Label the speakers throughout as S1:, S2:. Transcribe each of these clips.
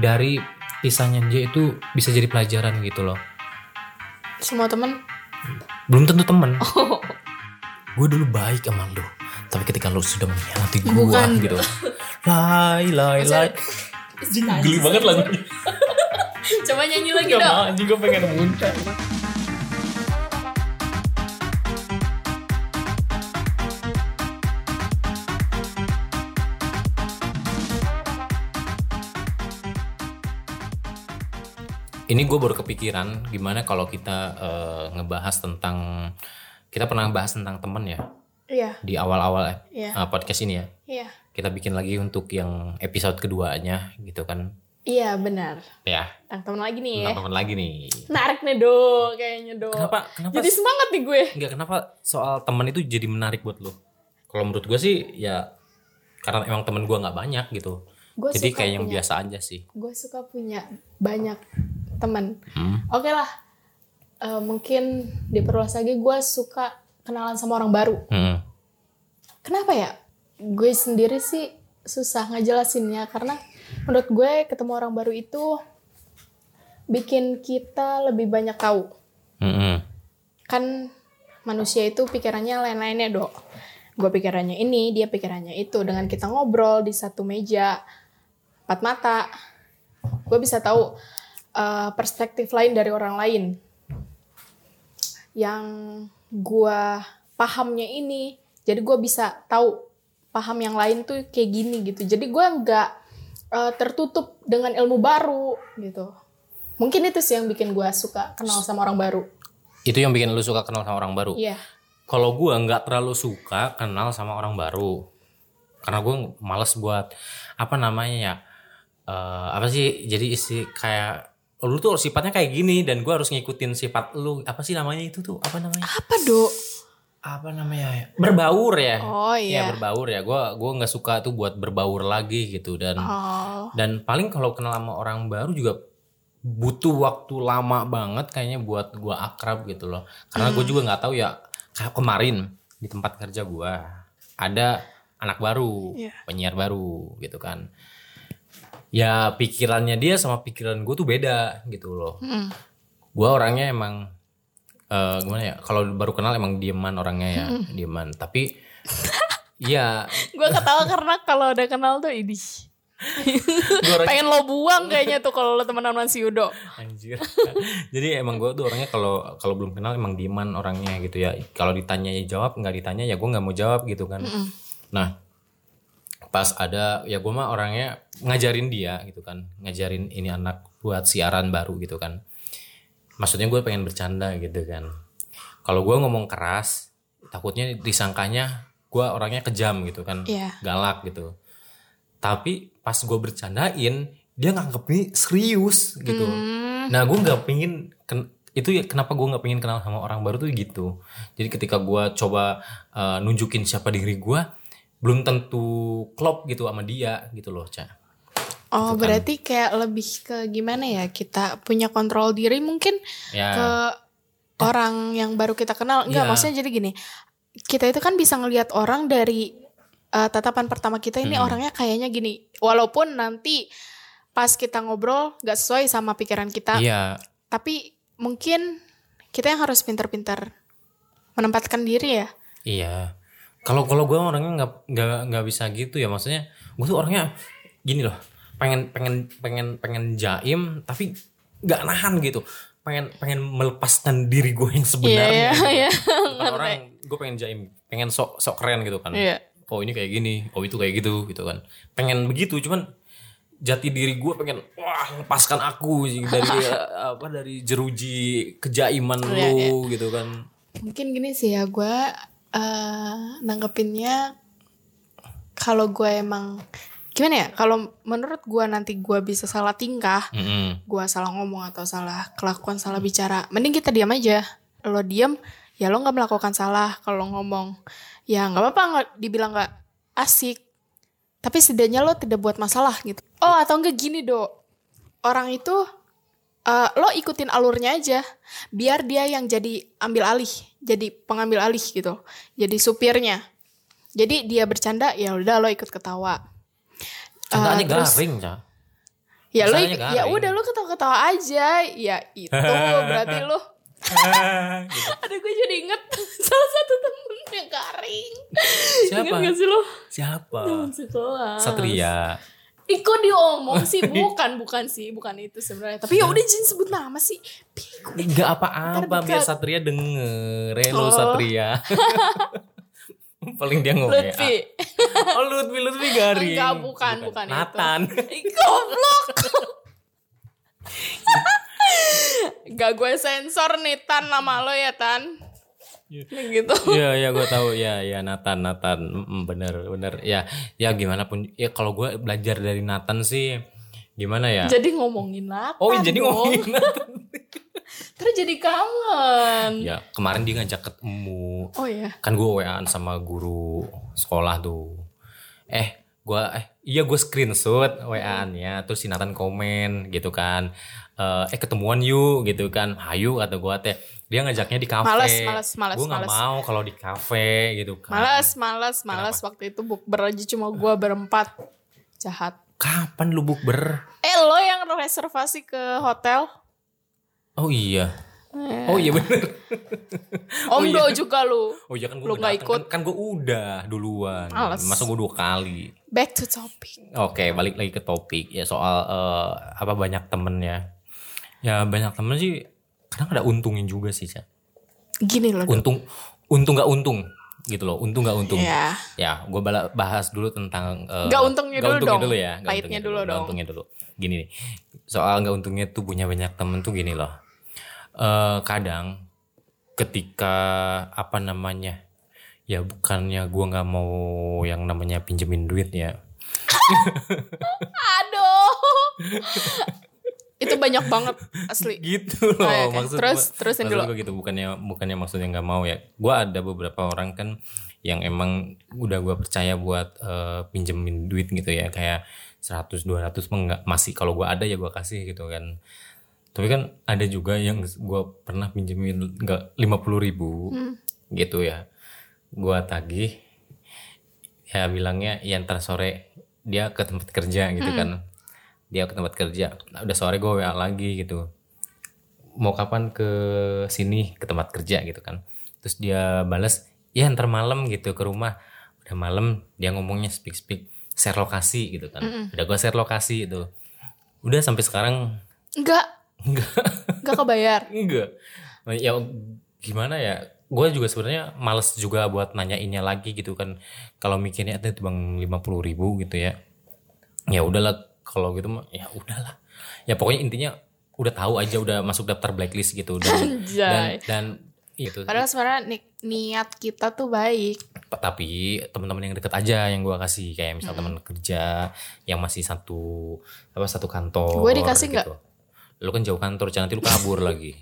S1: dari kisahnya dia itu bisa jadi pelajaran gitu loh
S2: Semua temen.
S1: belum tentu temen
S2: Oh,
S1: gue dulu baik sama lu tapi ketika lu sudah mengkhianati gue
S2: Bukan.
S1: gitu lai lai lai geli banget lagunya
S2: Coba nyanyi lagi
S1: Gak
S2: dong.
S1: mau juga pengen muncul Ini gue baru kepikiran gimana kalau kita eh, ngebahas tentang kita pernah bahas tentang temen ya
S2: Iya,
S1: di awal-awal eh,
S2: iya,
S1: eh, podcast ini ya.
S2: iya.
S1: Kita bikin lagi untuk yang episode keduanya gitu kan.
S2: Iya benar.
S1: Ya,
S2: Tentang temen lagi nih ya.
S1: tentang temen lagi nih.
S2: Menarik nih do, kayaknya do.
S1: Kenapa kenapa
S2: Jadi semangat nih gue.
S1: Enggak kenapa soal teman itu jadi menarik buat lo? Kalau menurut gue sih ya karena emang temen gue nggak banyak gitu.
S2: Gue
S1: jadi
S2: suka
S1: kayak yang
S2: punya-
S1: biasa aja sih.
S2: Gue suka punya banyak temen.
S1: Hmm.
S2: Oke lah. Eh, mungkin diperluas lagi gue suka kenalan sama orang baru.
S1: Hmm.
S2: Kenapa ya? Gue sendiri sih susah ngejelasinnya karena menurut gue ketemu orang baru itu bikin kita lebih banyak tahu.
S1: Hmm.
S2: Kan manusia itu pikirannya lain-lainnya, Dok. Gue pikirannya ini, dia pikirannya itu. Dengan kita ngobrol di satu meja, empat mata, gue bisa tahu eh, perspektif lain dari orang lain. Yang gue pahamnya ini, jadi gue bisa tahu paham yang lain tuh kayak gini gitu. Jadi gue nggak eh, tertutup dengan ilmu baru gitu. Mungkin itu sih yang bikin gue suka kenal sama orang baru.
S1: Itu yang bikin lo suka kenal sama orang baru.
S2: Iya.
S1: Kalau gue nggak terlalu suka kenal sama orang baru karena gue males buat apa namanya ya eh, apa sih jadi isi kayak "Oh, lu tuh sifatnya kayak gini dan gue harus ngikutin sifat lu apa sih namanya itu tuh apa namanya
S2: Apa, Dok?
S1: apa namanya ya? berbaur ya
S2: Oh
S1: Iya
S2: iya.
S1: berbaur ya. Gua gua nggak suka tuh buat berbaur lagi gitu dan
S2: Oh.
S1: dan paling kalau kenal sama orang baru juga butuh waktu lama banget kayaknya buat gua akrab gitu loh. Karena
S2: Hmm.
S1: gue juga nggak tahu ya kayak kemarin di tempat kerja gua ada anak baru,
S2: Iya.
S1: penyiar baru gitu kan. Ya pikirannya dia sama pikiran gue tuh beda gitu loh.
S2: Mm.
S1: Gua orangnya emang eh, gimana ya? Kalau baru kenal emang dieman orangnya ya,
S2: Hmm.
S1: dieman. Tapi Iya,
S2: Gue ketawa karena kalau udah kenal tuh ini
S1: gue orangnya
S2: pengen lo buang kayaknya tuh kalau lo temenan sama si Yudo.
S1: anjir jadi emang gue tuh orangnya kalau kalau belum kenal emang diman orangnya gitu ya kalau ditanya ya jawab nggak ditanya ya gue nggak mau jawab gitu kan
S2: Mm-mm.
S1: nah pas ada ya gue mah orangnya ngajarin dia gitu kan ngajarin ini anak buat siaran baru gitu kan maksudnya gue pengen bercanda gitu kan kalau gue ngomong keras takutnya disangkanya gue orangnya kejam gitu kan
S2: Iya.
S1: galak gitu. Tapi pas gue bercandain, dia nganggepnya serius gitu.
S2: Hmm.
S1: Nah gue nggak pingin ken- itu ya kenapa gue nggak pingin kenal sama orang baru tuh gitu. Jadi ketika gue coba eh, nunjukin siapa diri gue, belum tentu klop gitu sama dia gitu loh cah.
S2: Oh
S1: Bukan.
S2: berarti kayak lebih ke gimana ya kita punya kontrol diri mungkin ke
S1: Ya
S2: orang yang baru kita kenal. Enggak
S1: Iya.
S2: maksudnya jadi gini kita itu kan bisa ngelihat orang dari eh, tatapan pertama kita ini
S1: Mm.
S2: orangnya kayaknya gini. Walaupun nanti pas kita ngobrol nggak sesuai sama pikiran kita,
S1: iya
S2: tapi mungkin kita yang harus pintar-pintar menempatkan diri ya.
S1: iya. Kalau kalau gue orangnya nggak nggak nggak bisa gitu ya maksudnya gue tuh orangnya gini loh pengen pengen pengen pengen jaim tapi nggak nahan gitu pengen pengen melepaskan diri gue yang sebenarnya gitu.
S2: iya.
S1: Bukan orang gue pengen jaim pengen sok sok keren gitu kan
S2: Iya.
S1: oh ini kayak gini oh itu kayak gitu gitu kan pengen begitu cuman jati diri gue pengen wah lepaskan aku dari eh, apa dari jeruji kejaiman lu
S2: Iya,
S1: gitu kan
S2: Mungkin gini sih ya gue eh nanggepinnya kalau gue emang gimana ya kalau menurut gue nanti gue bisa salah tingkah,
S1: Mm-mm.
S2: gue salah ngomong atau salah kelakuan salah bicara, mending kita diam aja. Lo diam ya lo nggak melakukan salah kalau lo ngomong ya nggak apa-apa nggak dibilang nggak asik tapi setidaknya lo tidak buat masalah gitu oh atau enggak gini do orang itu eh, lo ikutin alurnya aja biar dia yang jadi ambil alih jadi pengambil alih gitu jadi supirnya jadi dia bercanda ya udah lo ikut ketawa Eh,
S1: Contohnya
S2: terus-
S1: garing ya
S2: ya lu
S1: Masalahnya
S2: ya
S1: garing.
S2: udah lu ketawa-ketawa aja ya itu berarti lu
S1: Gitu.
S2: ada gue jadi inget salah satu temen yang garing
S1: Siapa?
S2: inget gak sih lu
S1: Siapa?
S2: temen sekolah
S1: Satria.
S2: Iko diomong sih bukan bukan sih bukan itu sebenarnya
S1: Iya.
S2: tapi ya udah jangan sebut nama sih Bego.
S1: Enggak Eh, apa-apa
S2: Ntar
S1: biar
S2: dekat.
S1: Satria denger. Relo
S2: Oh.
S1: Satria. Paling dia ngomong
S2: Lutfi
S1: ya. Oh Lutfi, Lutfi garing.
S2: Enggak, bukan, bukan itu.
S1: Nathan.
S2: Iko blok Gak gue sensor nih Tan nama lo ya Tan Gitu
S1: Iya, iya gue tahu. Ya, ya Nathan, Nathan. Mm, bener, bener. Ya, ya gimana pun. Ya kalau gue belajar dari Nathan sih gimana ya?
S2: Jadi ngomongin Nathan
S1: oh, jadi
S2: dong.
S1: ngomongin Nathan.
S2: Terus jadi kangen
S1: ya, kemarin dia ngajak ketemu.
S2: Oh ya
S1: kan gue WA-an sama guru sekolah tuh eh gue eh iya gue screenshot WA-annya ya, terus si Nathan komen gitu kan Eh, eh ketemuan yuk gitu kan hayu kata gue teh dia ngajaknya di kafe
S2: Males, males, males,
S1: gue nggak
S2: males.
S1: mau kalau di kafe gitu kan
S2: Malas, malas, malas Waktu itu bukber aja cuma gue berempat Jahat
S1: kapan lu bukber
S2: Eh lo yang reservasi ke hotel
S1: oh iya
S2: Eh.
S1: oh iya bener Oh,
S2: Om Do juga lu
S1: oh iya kan gue
S2: Lu nggak ikut.
S1: kan, gue udah duluan
S2: Males.
S1: masa gue dua kali
S2: Back to topic
S1: Oke, balik lagi ke topik ya soal eh, apa banyak temen ya. Ya banyak temen sih kadang ada untungin juga sih, Cak.
S2: Gini loh
S1: Untung untung nggak untung gitu loh, untung nggak untung.
S2: Ya
S1: Ya, gue bahas dulu tentang eh,
S2: Nggak untungnya
S1: nggak
S2: dulu
S1: untungnya
S2: dong.
S1: ya, nggak
S2: Pahitnya
S1: untungnya
S2: dulu
S1: nggak
S2: dong.
S1: Untungnya dulu. Gini nih. Soal nggak untungnya tuh punya banyak temen tuh gini loh. Eh kadang ketika apa namanya? Ya bukannya gua nggak mau yang namanya pinjemin duit ya.
S2: Aduh. itu banyak banget asli.
S1: gitu loh
S2: Oh, iya, oke.
S1: maksud
S2: Terus-
S1: gua-
S2: terusin
S1: maksud
S2: dulu.
S1: gua gitu bukannya bukannya maksudnya nggak mau ya gue ada beberapa orang kan yang emang udah gue percaya buat eh, pinjemin duit gitu ya kayak 100 200 mah nggak masih kalau gue ada ya gue kasih gitu kan tapi kan ada juga yang gue pernah pinjemin nggak 50 ribu
S2: Hmm.
S1: gitu ya gue tagih ya bilangnya ya ntar sore dia ke tempat kerja gitu
S2: Hmm.
S1: kan dia ke tempat kerja Nah, udah sore gue WA lagi gitu mau kapan ke sini ke tempat kerja gitu kan terus dia balas ya ntar malam gitu ke rumah udah malam dia ngomongnya speak speak share lokasi gitu kan udah gue share lokasi itu udah sampai sekarang
S2: Enggak,
S1: enggak
S2: enggak kebayar.
S1: enggak ya gimana ya gue juga sebenarnya males juga buat nanyainnya lagi gitu kan kalau mikirnya itu bang lima puluh ribu gitu ya ya udahlah kalau gitu mah ya udahlah ya pokoknya intinya udah tahu aja udah masuk daftar blacklist gitu dan dan,
S2: Anjay.
S1: dan itu
S2: Padahal sebenarnya ni- niat kita tuh baik.
S1: tapi teman-teman yang deket aja yang gua kasih kayak misal teman kerja yang masih satu apa satu kantor gitu.
S2: Gua dikasih nggak?
S1: lu kan jauh kantor jangan nanti lu kabur lagi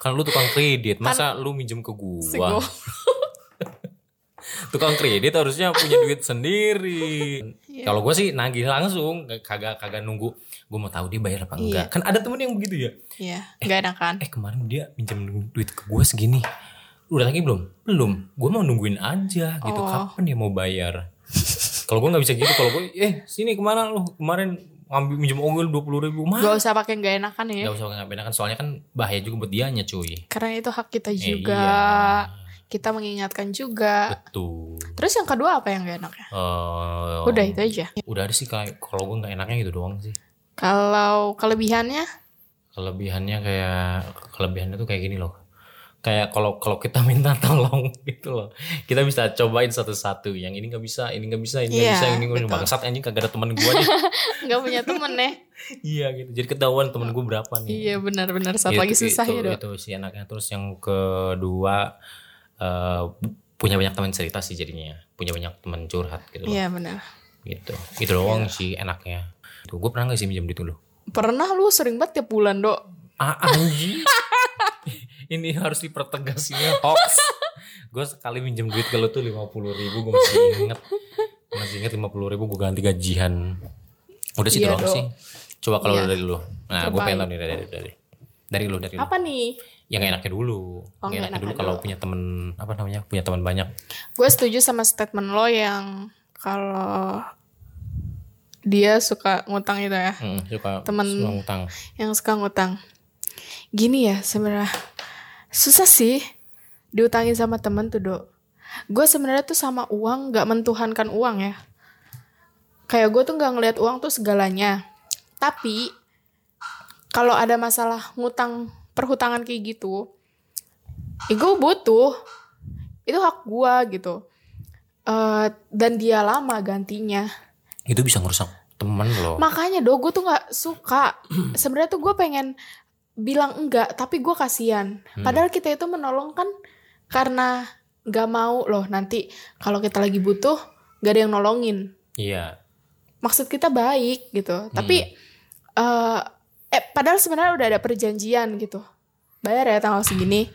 S1: kan lu tukang kredit masa lu minjem ke gua
S2: Sego.
S1: tukang kredit harusnya punya duit sendiri
S2: Iya.
S1: kalau gua sih nagih langsung kagak kagak nunggu gua mau tahu dia bayar apa enggak kan ada temen yang begitu ya
S2: Iya, enggak enak kan?
S1: eh kemarin dia minjem duit ke gue segini lu udah lagi belum belum gue mau nungguin aja gitu
S2: Oh.
S1: kapan dia mau bayar kalau gue nggak bisa gitu kalau gue eh sini kemana lu kemarin ngambil minjem ongol dua puluh ribu mah
S2: Gak usah pakai enggak enakan ya.
S1: nggak usah ngapain kan soalnya kan bahaya juga buat dianya cuy
S2: Karena itu hak kita
S1: Eh,
S2: juga. Ah.
S1: iya.
S2: Kita mengingatkan juga.
S1: betul
S2: Terus yang kedua apa yang gak enaknya?
S1: Eh,
S2: Udah itu aja.
S1: udah ada sih kayak kalau gue nggak enaknya gitu doang sih
S2: Kalau kelebihannya
S1: kelebihannya kayak kelebihannya tuh kayak gini loh kayak kalau kalau kita minta tolong gitu loh kita bisa cobain satu-satu yang ini nggak bisa ini nggak bisa ini nggak
S2: Iya,
S1: bisa ini nggak bisa
S2: betul.
S1: bangsat anjing kagak ada teman gue nih
S2: nggak punya temen ya.
S1: iya gitu jadi ketahuan temen gue berapa nih
S2: iya benar-benar saat
S1: Itu-
S2: lagi susah
S1: itu,
S2: ya dok.
S1: itu si anaknya terus yang kedua eh, punya banyak teman cerita sih jadinya punya banyak teman curhat gitu loh
S2: Iya benar.
S1: gitu itu doang sih enaknya tuh gue pernah nggak sih minjem duit dulu
S2: Pernah lu sering banget tiap bulan dok.
S1: Ah, anjing. Ini harus dipertegas ini hoax. gue sekali minjem duit ke lu tuh 50 ribu gue masih inget. Masih inget 50 ribu gue ganti gajian. Udah sih itu
S2: Iya,
S1: doang
S2: Dok.
S1: sih. Coba kalau
S2: Iya.
S1: dari lu. Nah gue
S2: Coba.
S1: pengen tau nih dari, dari, dari. Dari lu, dari lu.
S2: Apa nih?
S1: Yang gak enaknya dulu.
S2: Oh,
S1: yang
S2: nggak
S1: enaknya
S2: enaknya
S1: dulu kalau punya temen, apa namanya, punya teman banyak.
S2: Gue setuju sama statement lo yang kalau dia suka ngutang itu ya
S1: Mm, suka
S2: Temen.
S1: suka ngutang.
S2: yang suka ngutang gini ya sebenarnya susah sih diutangin sama temen tuh dok gue sebenarnya tuh sama uang nggak mentuhankan uang ya kayak gue tuh nggak ngelihat uang tuh segalanya tapi kalau ada masalah ngutang perhutangan kayak gitu eh, gue butuh itu hak gue gitu Eh, dan dia lama gantinya
S1: Itu bisa ngerusak temen loh.
S2: Makanya do gue tuh nggak suka. Sebenarnya tuh gue pengen bilang enggak, tapi gue kasihan.
S1: Hmm.
S2: Padahal kita itu menolong kan karena nggak mau loh nanti kalau kita lagi butuh gak ada yang nolongin.
S1: Iya.
S2: Maksud kita baik gitu, tapi
S1: Hmm.
S2: eh eh padahal sebenarnya udah ada perjanjian gitu. Bayar ya tanggal segini.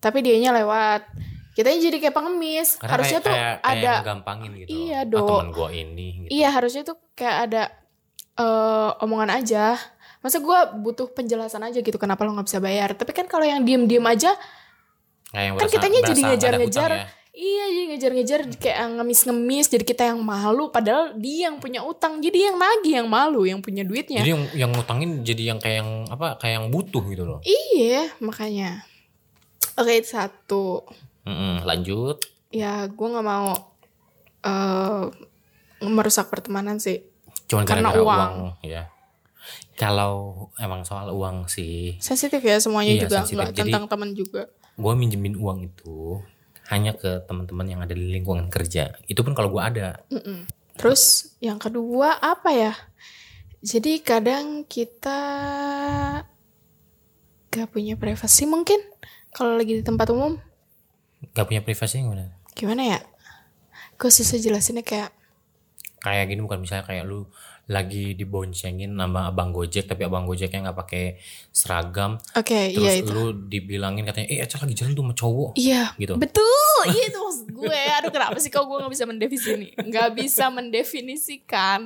S2: Tapi dianya lewat. Kita jadi kayak pengemis.
S1: Karena
S2: Harusnya
S1: kayak,
S2: tuh
S1: kayak, kayak
S2: ada
S1: ngegampangin gitu. loh.
S2: Iya,
S1: Ah,
S2: Dok.
S1: temen gue ini gitu.
S2: Iya harusnya tuh kayak ada eh, omongan aja. Masa gue butuh penjelasan aja gitu kenapa lo nggak bisa bayar. Tapi kan kalau yang diem-diem aja,
S1: Kayak yang
S2: Kan
S1: berasa-
S2: kitanya
S1: berasa
S2: jadi
S1: nggak ada
S2: ngejar-ngejar.
S1: hutang ya.
S2: iya jadi ngejar-ngejar
S1: Hmm.
S2: kayak yang ngemis-ngemis. Jadi kita yang malu padahal dia yang punya utang. Jadi yang nagih yang malu, yang punya duitnya.
S1: Jadi yang yang ngutangin jadi yang kayak yang apa kayak yang butuh gitu loh.
S2: iya makanya. Oke itu satu.
S1: Mm-mm, lanjut.
S2: Ya gue nggak mau eh, merusak pertemanan sih.
S1: Cuman
S2: Karena
S1: gara-gara uang.
S2: uang.
S1: ya. Kalau emang soal uang sih,
S2: Sensitif ya semuanya
S1: Iya,
S2: juga.
S1: sensitif.
S2: nggak
S1: Jadi-
S2: tentang teman juga.
S1: gue minjemin uang itu hanya ke teman-teman yang ada di lingkungan kerja. Itu pun kalau gue ada.
S2: Mm-mm. Terus yang kedua apa ya? Jadi kadang kita gak punya privasi mungkin kalau lagi di tempat umum
S1: Gak punya privasi gimana?
S2: gimana ya? Gue susah jelasinnya kayak
S1: Kayak gini bukan misalnya kayak lu lagi diboncengin sama abang gojek tapi abang gojeknya nggak pakai seragam
S2: oke
S1: terus
S2: iya itu.
S1: lu dibilangin katanya eh Eca lagi jalan tuh sama cowok
S2: Iya.
S1: gitu
S2: Betul, iya itu maksud gue. Aduh kenapa sih kok gue gak bisa mendefinisikan? Gak bisa mendefinisikan.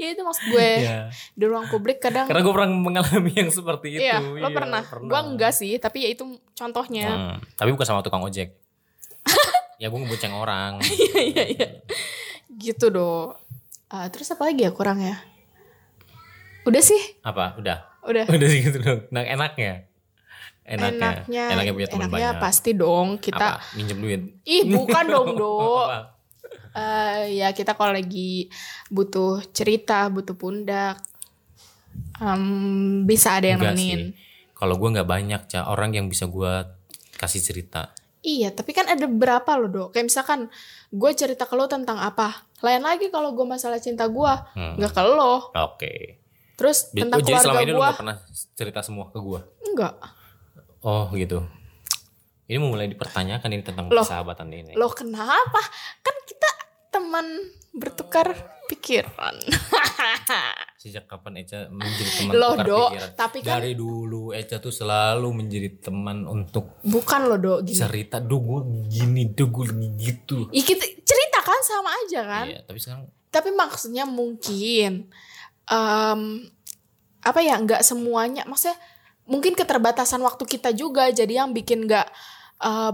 S2: Ya itu maksud gue.
S1: Iya.
S2: Di ruang publik kadang
S1: karena gue pernah mengalami yang seperti itu
S2: Iya, lo pernah. Gue enggak sih, tapi ya itu
S1: Hmm,
S2: contohnya.
S1: tapi bukan sama tukang ojek ya gue ngebonceng orang
S2: Iya, iya. gitu do Ah, terus apa lagi ya kurang ya udah sih
S1: apa udah
S2: udah
S1: udah sih gitu dong nah enaknya enaknya
S2: enaknya
S1: punya teman
S2: enaknya
S1: banyak
S2: pasti
S1: apa
S2: dong kita Oh,
S1: minjem duit Oh,
S2: ih bukan dong do
S1: Apa?
S2: Eh, ya kita kalau lagi butuh cerita butuh pundak em, bisa ada yang
S1: Enggak
S2: nemenin
S1: sih. kalau gue nggak banyak cah orang yang bisa gue kasih cerita
S2: Iya, tapi kan ada berapa loh dok. Kayak misalkan gue cerita ke lo tentang apa. Lain lagi kalau gue masalah cinta gue,
S1: Hmm.
S2: nggak ke lo.
S1: oke
S2: Terus
S1: Bi-
S2: tentang
S1: oh, jadi selama
S2: keluarga
S1: ini lu
S2: gue,
S1: gak pernah cerita semua ke gue
S2: enggak.
S1: oh gitu ini mulai dipertanyakan ini tentang
S2: Loh.
S1: persahabatan ini
S2: Loh kenapa? Kan kita teman bertukar pikiran.
S1: Sejak kapan Eca menjadi teman
S2: Loh,
S1: tukar
S2: Dok,
S1: pikiran?
S2: tapi kan-
S1: dari dulu Eca tuh selalu menjadi teman untuk
S2: Bukan loh dok gini.
S1: cerita dugu gini dugu gitu.
S2: Ya, kita cerita kan sama aja kan.
S1: Iya, tapi sekarang
S2: Tapi maksudnya mungkin em, apa ya nggak semuanya maksudnya mungkin keterbatasan waktu kita juga jadi yang bikin nggak eh,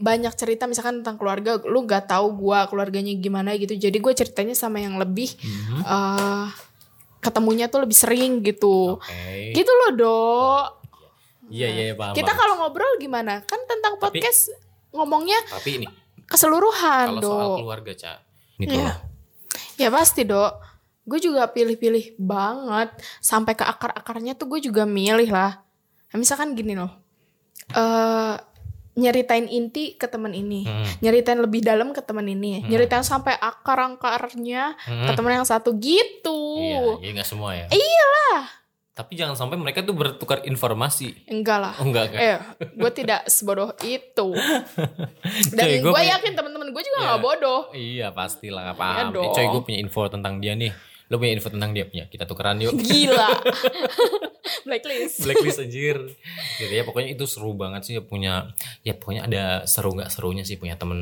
S2: banyak cerita misalkan tentang keluarga lu nggak tahu gua keluarganya gimana gitu jadi gue ceritanya sama yang lebih
S1: Mhm.
S2: eh, ketemunya tuh lebih sering gitu
S1: oke.
S2: gitu loh dok
S1: Iya iya iya, paham.
S2: Kita kan-
S1: paham.
S2: kalau ngobrol gimana? Kan tentang
S1: Tapi-
S2: podcast ngomongnya
S1: tapi ini
S2: keseluruhan,
S1: kalau soal
S2: Kan, Dok.
S1: keluarga, Ca. Ini tuh
S2: Iya.
S1: loh.
S2: Ya pasti, Dok. Gue juga pilih-pilih banget sampai ke akar-akarnya tuh gue juga milih lah. Nah, misalkan gini loh. Eh nyeritain inti ke teman ini,
S1: Hmm.
S2: nyeritain lebih dalam ke teman ini,
S1: Hmm.
S2: nyeritain sampai akar-akarnya
S1: Mhm.
S2: ke teman yang satu gitu. Iya.
S1: Iya, jadi nggak semua ya.
S2: Eh. Iyalah.
S1: Tapi jangan sampai mereka tuh bertukar informasi.
S2: Enggak lah.
S1: Oh, enggak kan?
S2: Eh, gue tidak sebodoh itu. Dan
S1: Cuy,
S2: gue
S1: gua punya-
S2: yakin teman-teman gue juga
S1: Iya.
S2: nggak bodoh.
S1: Iya, pastilah nggak paham.
S2: Iya dong.
S1: Eh, coy, gue punya info tentang dia nih. Lo punya info tentang dia punya. Kita tukeran yuk.
S2: Gila. Blacklist.
S1: blacklist anjir gitu ya pokoknya itu seru banget sih punya ya pokoknya ada seru nggak serunya sih punya temen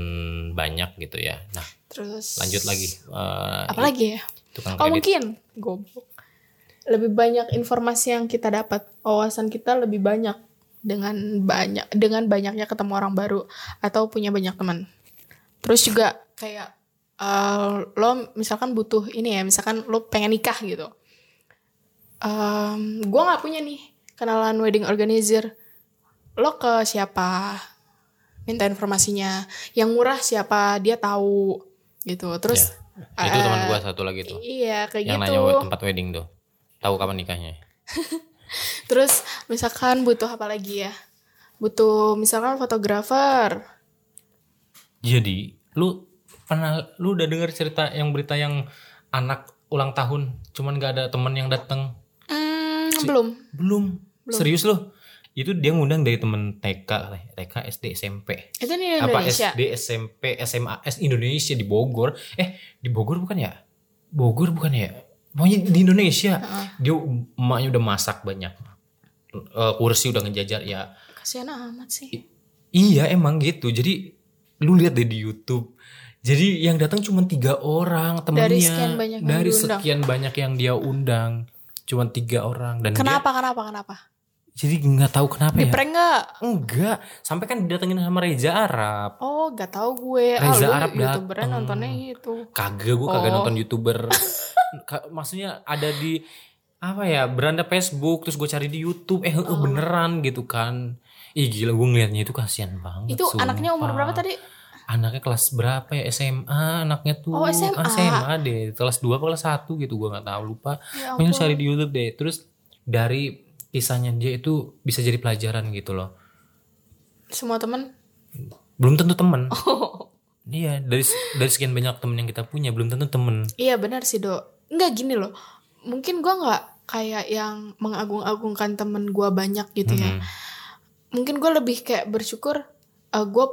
S1: banyak gitu ya nah
S2: Terus
S1: lanjut lagi Eh,
S2: Apa lagi ya?
S1: tukang
S2: Oh
S1: kredit
S2: mungkin goblok. Lebih banyak informasi yang kita dapat, wawasan kita lebih banyak dengan banyak dengan banyaknya ketemu orang baru atau punya banyak teman. Terus juga kayak eh, lo misalkan butuh ini ya, misalkan lo pengen nikah gitu. Em, gua nggak punya nih kenalan wedding organizer. Lo ke siapa? Minta informasinya. Yang murah siapa? Dia tahu gitu. Terus
S1: Ya, itu
S2: eh,
S1: teman gua satu lagi tuh
S2: Iya, kayak
S1: yang
S2: gitu.
S1: nanya we- tempat wedding tuh tahu kapan nikahnya
S2: Terus misalkan butuh apa lagi ya? Butuh misalkan fotografer.
S1: jadi lu pernah lu udah dengar cerita yang berita yang anak ulang tahun cuman gak ada teman yang datang
S2: Hmm, belum.
S1: belum. serius lu itu dia ngundang dari temen TK TK SD SMP
S2: Itu nih
S1: apa
S2: Indonesia.
S1: SD SMP SMA S Indonesia di Bogor eh di Bogor bukan ya Bogor bukan ya pokoknya di Indonesia dia emaknya udah masak banyak Eh, kursi udah ngejajar ya
S2: Kasihan amat sih.
S1: I- iya emang gitu jadi lu lihat deh di YouTube jadi yang datang cuma tiga orang temennya
S2: Dari sekian banyak yang
S1: Dari
S2: diundang.
S1: sekian banyak yang dia undang cuma tiga orang dan dia-
S2: Kenapa, kenapa, kenapa?
S1: jadi nggak tahu kenapa
S2: Di
S1: ya
S2: prank nggak?
S1: enggak sampai kan didatengin sama Reza Arab
S2: Oh, gak tau gue.
S1: Reza
S2: ah, lu
S1: Arab
S2: youtuber
S1: dateng.
S2: nontonnya gitu.
S1: kagak gue kagak
S2: Oh.
S1: nonton youtuber Ka- maksudnya ada di apa ya beranda Facebook terus gue cari di YouTube eh eh,
S2: Oh.
S1: beneran gitu kan ih gila gue ngeliatnya itu kasihan banget
S2: Itu anaknya umur berapa
S1: sumpah.
S2: tadi?
S1: anaknya kelas berapa ya SMA anaknya tuh
S2: Oh, SMA.
S1: Ah, SMA deh kelas 2 kelas 1 gitu gua nggak tahu lupa
S2: Ya
S1: mungkin
S2: ampun.
S1: cari di YouTube deh terus dari kisahnya dia itu bisa jadi pelajaran gitu loh
S2: Semua temen?
S1: belum tentu temen
S2: Oh.
S1: iya dari dari sekian banyak temen yang kita punya belum tentu temen
S2: Iya benar sih, Dok. Enggak gini loh. Mungkin gue nggak kayak yang mengagung-agungkan temen gue banyak gitu ya.
S1: Mm-mm.
S2: mungkin gue lebih kayak bersyukur gue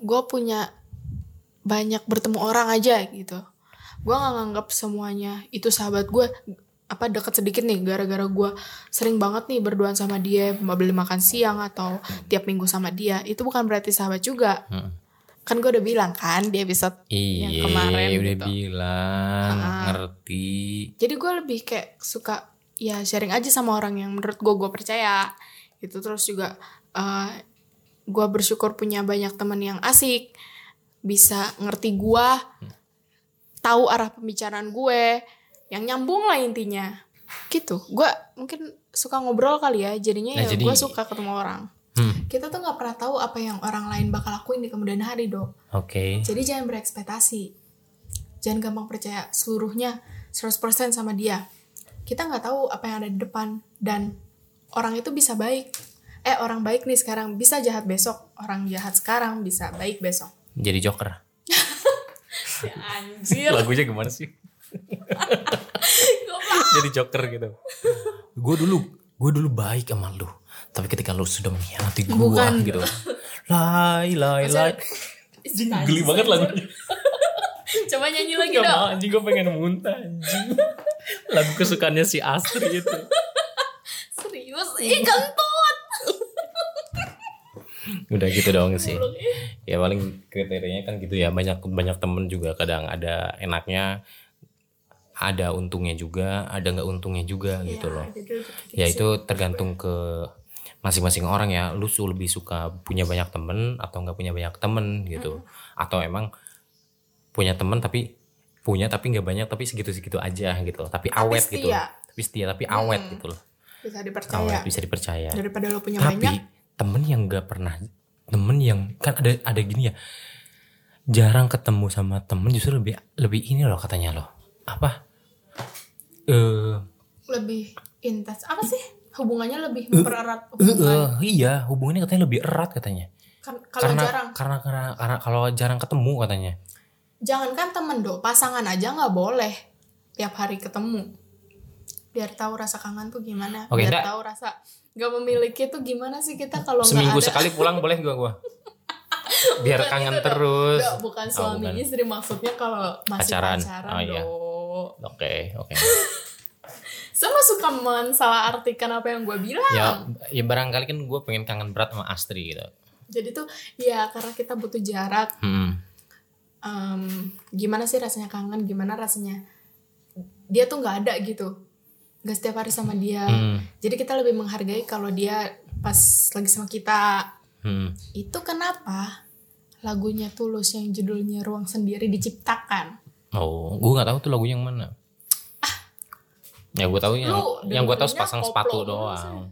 S2: gue punya banyak bertemu orang aja gitu gue nggak nganggap semuanya itu sahabat gue apa deket sedikit nih gara-gara gue sering banget nih berduaan sama dia mau beli makan siang atau tiap minggu sama dia itu bukan berarti sahabat juga
S1: Mm-mm.
S2: kan gue udah bilang kan di episode
S1: Iya,
S2: kemarin
S1: udah
S2: gitu.
S1: bilang
S2: Ah.
S1: ngerti.
S2: jadi gue lebih kayak suka ya sharing aja sama orang yang menurut gue gue percaya gitu terus juga gue bersyukur punya banyak teman yang asik bisa ngerti gue tahu arah pembicaraan gue yang nyambung lah intinya gitu gue mungkin suka ngobrol kali ya jadinya
S1: Nah,
S2: ya
S1: jadi-
S2: gue suka ketemu orang
S1: Hmm,
S2: kita tuh nggak pernah tahu apa yang orang lain bakal lakuin di kemudian hari dok
S1: Oke.
S2: jadi jangan berekspektasi. Jangan gampang percaya seluruhnya 100% sama dia. Kita nggak tahu apa yang ada di depan dan orang itu bisa baik. Eh orang baik nih sekarang bisa jahat besok, orang jahat sekarang bisa baik besok.
S1: Jadi Joker.
S2: Anjir,
S1: Lagunya gimana sih? Jadi Joker gitu. Gue dulu, gue dulu baik sama lu. Tapi ketika lu sudah mengkhianati gue
S2: Bukan.
S1: gitu. Lai, lai, lai. Anjing, Geli banget lagunya.
S2: coba nyanyi lagi
S1: Gak mau anjing gue pengen muntah anjing. Lagu kesukaannya si Astri itu.
S2: Serius, ih kentut.
S1: Udah gitu doang sih. Ya paling kriterianya kan gitu ya. Banyak banyak temen juga kadang ada enaknya ada untungnya juga, ada nggak untungnya juga
S2: Iya,
S1: gitu loh. ya itu tergantung ke masing-masing orang ya lu su- lebih suka punya banyak temen atau nggak punya banyak temen gitu atau emang punya temen tapi punya tapi nggak banyak tapi segitu-segitu aja gitu tapi awet gitu
S2: setia.
S1: tapi setia tapi awet gitu loh
S2: Bisa
S1: awet
S2: dipercaya.
S1: bisa dipercaya
S2: Daripada lo punya
S1: tapi
S2: banyak,
S1: temen yang nggak pernah temen yang kan ada ada gini ya jarang ketemu sama temen justru lebih lebih ini loh katanya loh apa eh
S2: lebih intens. Apa sih? Hubungannya lebih mempererat
S1: Eh,
S2: hubungan.
S1: eh, iya, hubungannya katanya lebih erat katanya.
S2: Kan kalau
S1: karena,
S2: jarang
S1: Karena karena karena kalau jarang ketemu katanya.
S2: Jangankan temen dok, pasangan aja nggak boleh tiap hari ketemu. Biar tahu rasa kangen tuh gimana.
S1: Oke,
S2: Biar
S1: enggak.
S2: tahu rasa nggak memiliki tuh gimana sih kita kalau
S1: Seminggu
S2: nggak ada.
S1: sekali pulang boleh gua gua. Biar
S2: Bukan
S1: kangen
S2: itu, Dok.
S1: terus.
S2: Dok, bukan suami
S1: Oh, bukan.
S2: istri maksudnya kalau masih
S1: Pacaran.
S2: pacaran,
S1: Oh, iya.
S2: dok.
S1: Oke, oke.
S2: Sama suka mensalahartikan apa yang gue bilang.
S1: Ya, ya barangkali kan gue pengen kangen berat sama Astri gitu.
S2: Jadi tuh ya karena kita butuh jarak
S1: Hmm.
S2: em, gimana sih rasanya kangen gimana rasanya dia tuh nggak ada gitu nggak setiap hari sama dia
S1: Hmm.
S2: jadi kita lebih menghargai kalau dia pas lagi sama kita
S1: Hmm.
S2: itu kenapa lagunya tulus yang judulnya ruang sendiri diciptakan
S1: Oh, gue nggak tahu tuh lagunya yang mana. Ya gue tahu yang
S2: Ah. Lu
S1: yang gue tahu
S2: dengerinnya
S1: sepasang
S2: koplo
S1: sepatu
S2: doang sih.
S1: doang.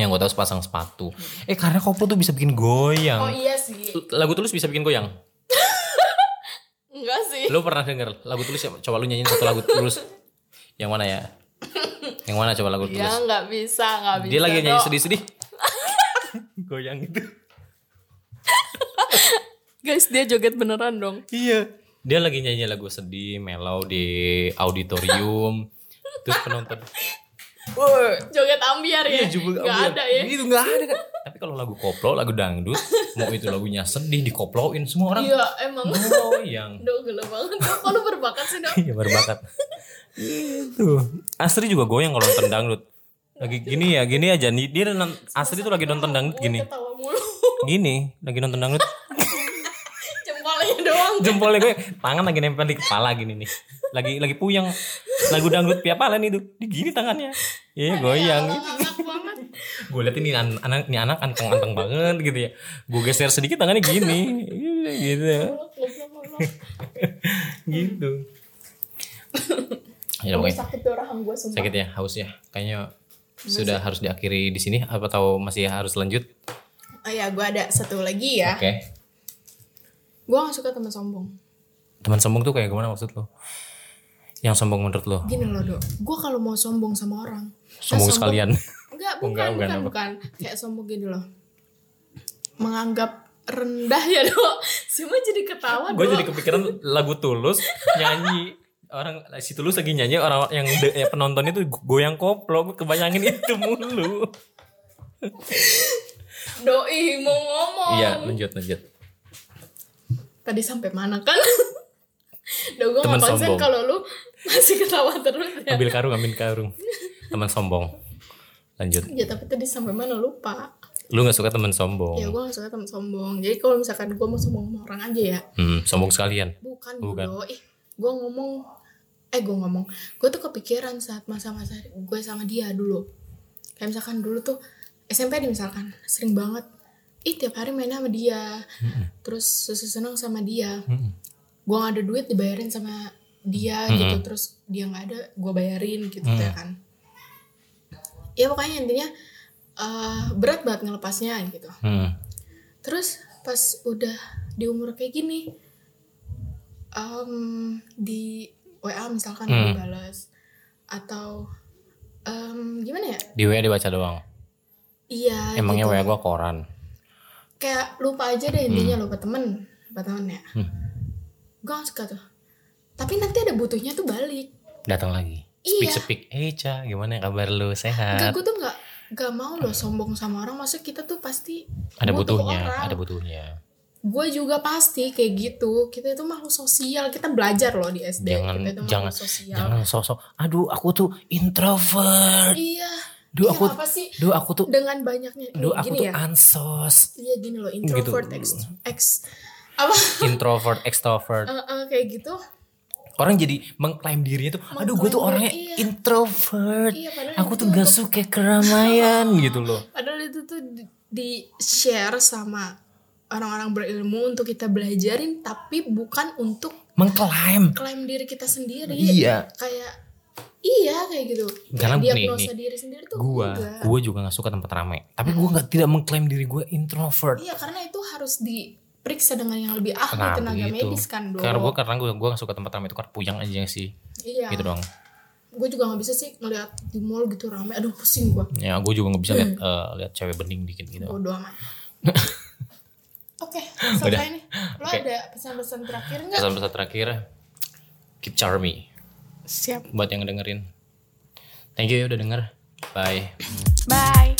S1: Yang gue tahu sepasang sepatu. Eh karena koplo tuh bisa bikin goyang.
S2: Oh iya sih.
S1: Lagu tulus bisa bikin goyang.
S2: Enggak sih.
S1: Lu pernah denger lagu tulus? ya? Coba lu nyanyiin satu lagu tulus. Yang mana ya? Yang mana coba lagu
S2: Ya
S1: tulus?
S2: nggak bisa, nggak Iya, bisa.
S1: Dia lagi nyanyi
S2: dong.
S1: sedih-sedih. goyang gitu.
S3: Guys, dia joget beneran dong.
S1: Iya. Dia lagi nyanyi lagu sedih, mellow di auditorium. terus penonton. Woi,
S2: Joget ambiar ya.
S1: Iya jubel
S2: Nggak
S1: ambiar.
S2: ada ya.
S1: Gitu nggak ada kan. Tapi kalau lagu koplo, lagu dangdut, mau itu lagunya sedih dikoploin semua orang
S2: Iya emang.
S1: goyang.
S2: Duh gila banget. Kok lu berbakat sih dong?
S1: Iya berbakat. Itu. Asri juga goyang kalau nonton dangdut. Lagi gini ya, gini aja. Nih, Dia non- Asri tuh lagi nonton dangdut gini.
S2: Ketawa mulu.
S1: Gini, lagi nonton dangdut.
S2: Jempolnya doang.
S1: Jempolnya gue tangan lagi nempel di kepala gini nih. Lagi lagi puyeng. Lagu dangdut piapalan itu. Di gini tangannya. Iya, goyang.
S2: Ngakak banget.
S1: gue liat ini an- anak ini anak anteng anteng banget gitu ya gue geser sedikit tangannya gini gitu gitu ya
S2: Gue
S1: pokoknya
S2: sakit tuh rahang gue sumpah.
S1: sakit ya haus ya kayaknya sudah harus diakhiri di sini apa tahu masih harus lanjut
S2: Oh ya gue ada satu lagi ya.
S1: oke
S2: Gue gak suka teman sombong.
S1: teman sombong tuh kayak gimana maksud lo yang sombong menurut lo
S2: Gini loh dok. Gue kalau mau sombong sama orang. nah,
S1: sombong sekalian
S2: Enggak,
S1: Oh,
S2: bukan,
S1: enggak, bukan
S2: bukan,
S1: apa.
S2: bukan. Kayak sombong gini loh. Menganggap rendah ya dok. Cuma jadi ketawa
S1: gue
S2: dok.
S1: jadi kepikiran lagu tulus nyanyi orang si tulus lagi nyanyi orang yang de- ya, penontonnya tuh goyang koplo gue kebayangin itu mulu
S2: Doi mau ngomong.
S1: iya lanjut lanjut
S2: Tadi sampai mana kan? Dok gue
S1: Teman
S2: gak konsen
S1: sombong.
S2: kalau lu masih ketawa terus ya.
S1: ambil karung ambil karung teman sombong lanjut
S2: Ya tapi tadi sampai mana lupa.
S1: lu nggak suka teman
S2: Ya
S1: sombong
S2: gue gak suka teman sombong. Jadi kalau misalkan gue mau sombong sama orang aja ya.
S1: hmm, sombong sekalian
S2: Bukan,
S1: Oh, Bukan.
S2: Bukan. Ih, gue ngomong eh gue ngomong gue tuh kepikiran saat masa-masa gue sama dia dulu kayak misalkan dulu tuh SMP nih misalkan sering banget ih tiap hari main sama dia terus susu seneng sama dia
S1: Mm-mm.
S2: gue gak ada duit dibayarin sama dia gitu terus dia nggak ada gue bayarin gitu ya kan ya pokoknya intinya eh, berat banget ngelepasnya gitu
S1: hmm.
S2: Terus pas udah di umur kayak gini, em, di WA misalkan
S1: Hmm.
S2: dibalas atau em, gimana ya?
S1: di WA dibaca doang
S2: Iya.
S1: emangnya
S2: gitu.
S1: WA gua koran
S2: Kayak lupa aja deh intinya lupa temen, lupa temen ya.
S1: Hmm.
S2: Gue gak suka tuh. Tapi nanti ada butuhnya tuh balik.
S1: datang lagi
S2: Iya.
S1: speak speak eh Ca gimana kabar lu
S2: Enggak,
S1: sehat
S2: gue tuh gak, gak mau loh sombong sama orang. Maksudnya kita tuh pasti
S1: ada
S2: butuh
S1: butuhnya
S2: orang.
S1: ada butuhnya
S2: gue juga pasti kayak gitu kita itu makhluk sosial kita belajar loh di SD
S1: Jangan-
S2: kita itu
S1: jangan-
S2: makhluk sosial
S1: jangan sosok aduh aku tuh introvert
S2: iya
S1: Duh,
S2: Iya,
S1: aku-
S2: apa sih
S1: duh aku tuh
S2: dengan banyaknya
S1: duh
S2: Nih,
S1: aku
S2: gini
S1: tuh
S2: ya
S1: ansos
S2: iya gini loh introvert
S1: Gitu.
S2: ex, ex apa
S1: introvert extrovert
S2: Eh, eh, kayak gitu
S1: orang jadi mengklaim dirinya tuh aduh gue tuh
S2: Mengklaim
S1: orangnya
S2: diri, iya.
S1: introvert
S2: Iya, padahal
S1: aku
S2: itu
S1: tuh gak
S2: untuk-
S1: suka keramaian gitu loh
S2: padahal itu tuh di- di share sama orang-orang berilmu untuk kita belajarin tapi bukan untuk
S1: mengklaim
S2: klaim diri kita sendiri
S1: Iya.
S2: kayak iya kayak gitu
S1: Karena
S2: Kayak
S1: nih,
S2: diagnosa
S1: nih,
S2: diri sendiri tuh
S1: gua
S2: enggak.
S1: gua juga nggak suka tempat ramai tapi gua nggak tidak mengklaim diri gua introvert
S2: Iya karena itu harus diperiksa dengan yang lebih ahli
S1: Nah,
S2: Iya, tenaga
S1: begitu.
S2: medis kan dok.
S1: karena gua karena gua gua nggak suka tempat ramai itu karena puyang aja sih
S2: iya.
S1: gitu dong
S2: Gue juga nggak bisa sih ngeliat di mall gitu rame. Aduh pusing gue.
S1: ya gua juga nggak bisa lihat eh, lihat cewek bening dikit gitu
S2: Bodoh amat. Oke selesai nih. Lo
S1: Oke.
S2: ada pesan-pesan terakhir nggak?
S1: pesan-pesan terakhir keep charming
S3: Siap.
S1: buat yang dengerin thank you ya udah denger bye
S3: Bye.